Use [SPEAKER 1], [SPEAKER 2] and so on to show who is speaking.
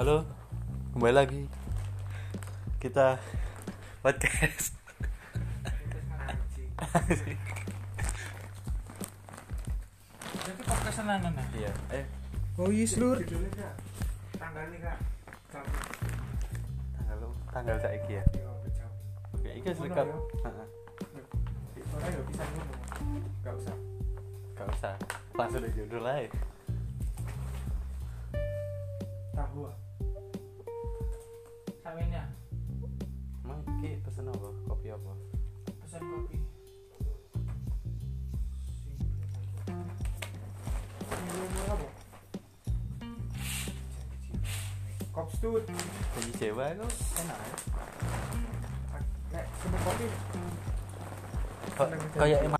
[SPEAKER 1] Halo, kembali lagi kita podcast.
[SPEAKER 2] Jadi podcast nanan nah.
[SPEAKER 1] Iya, eh
[SPEAKER 3] Oh iya slur.
[SPEAKER 2] Judulnya kak. Tanggalnya kak. Jam
[SPEAKER 1] tanggal tanggal saiki ya.
[SPEAKER 2] yo jam.
[SPEAKER 1] Oke, iki wis
[SPEAKER 2] Ngono
[SPEAKER 1] rekam.
[SPEAKER 2] ya.
[SPEAKER 1] Heeh,
[SPEAKER 2] Ora yo bisa ngomong. Enggak usah.
[SPEAKER 1] Gak usah. Langsung aja judul aja.
[SPEAKER 2] Tahu. Samenya
[SPEAKER 1] Emang iki pesen apa? Kopi apa?
[SPEAKER 2] pesan kopi. Kopstut,
[SPEAKER 1] Kopi Jawa itu enak. ya?
[SPEAKER 2] nek seneng kopi
[SPEAKER 1] Kok- Kayak emang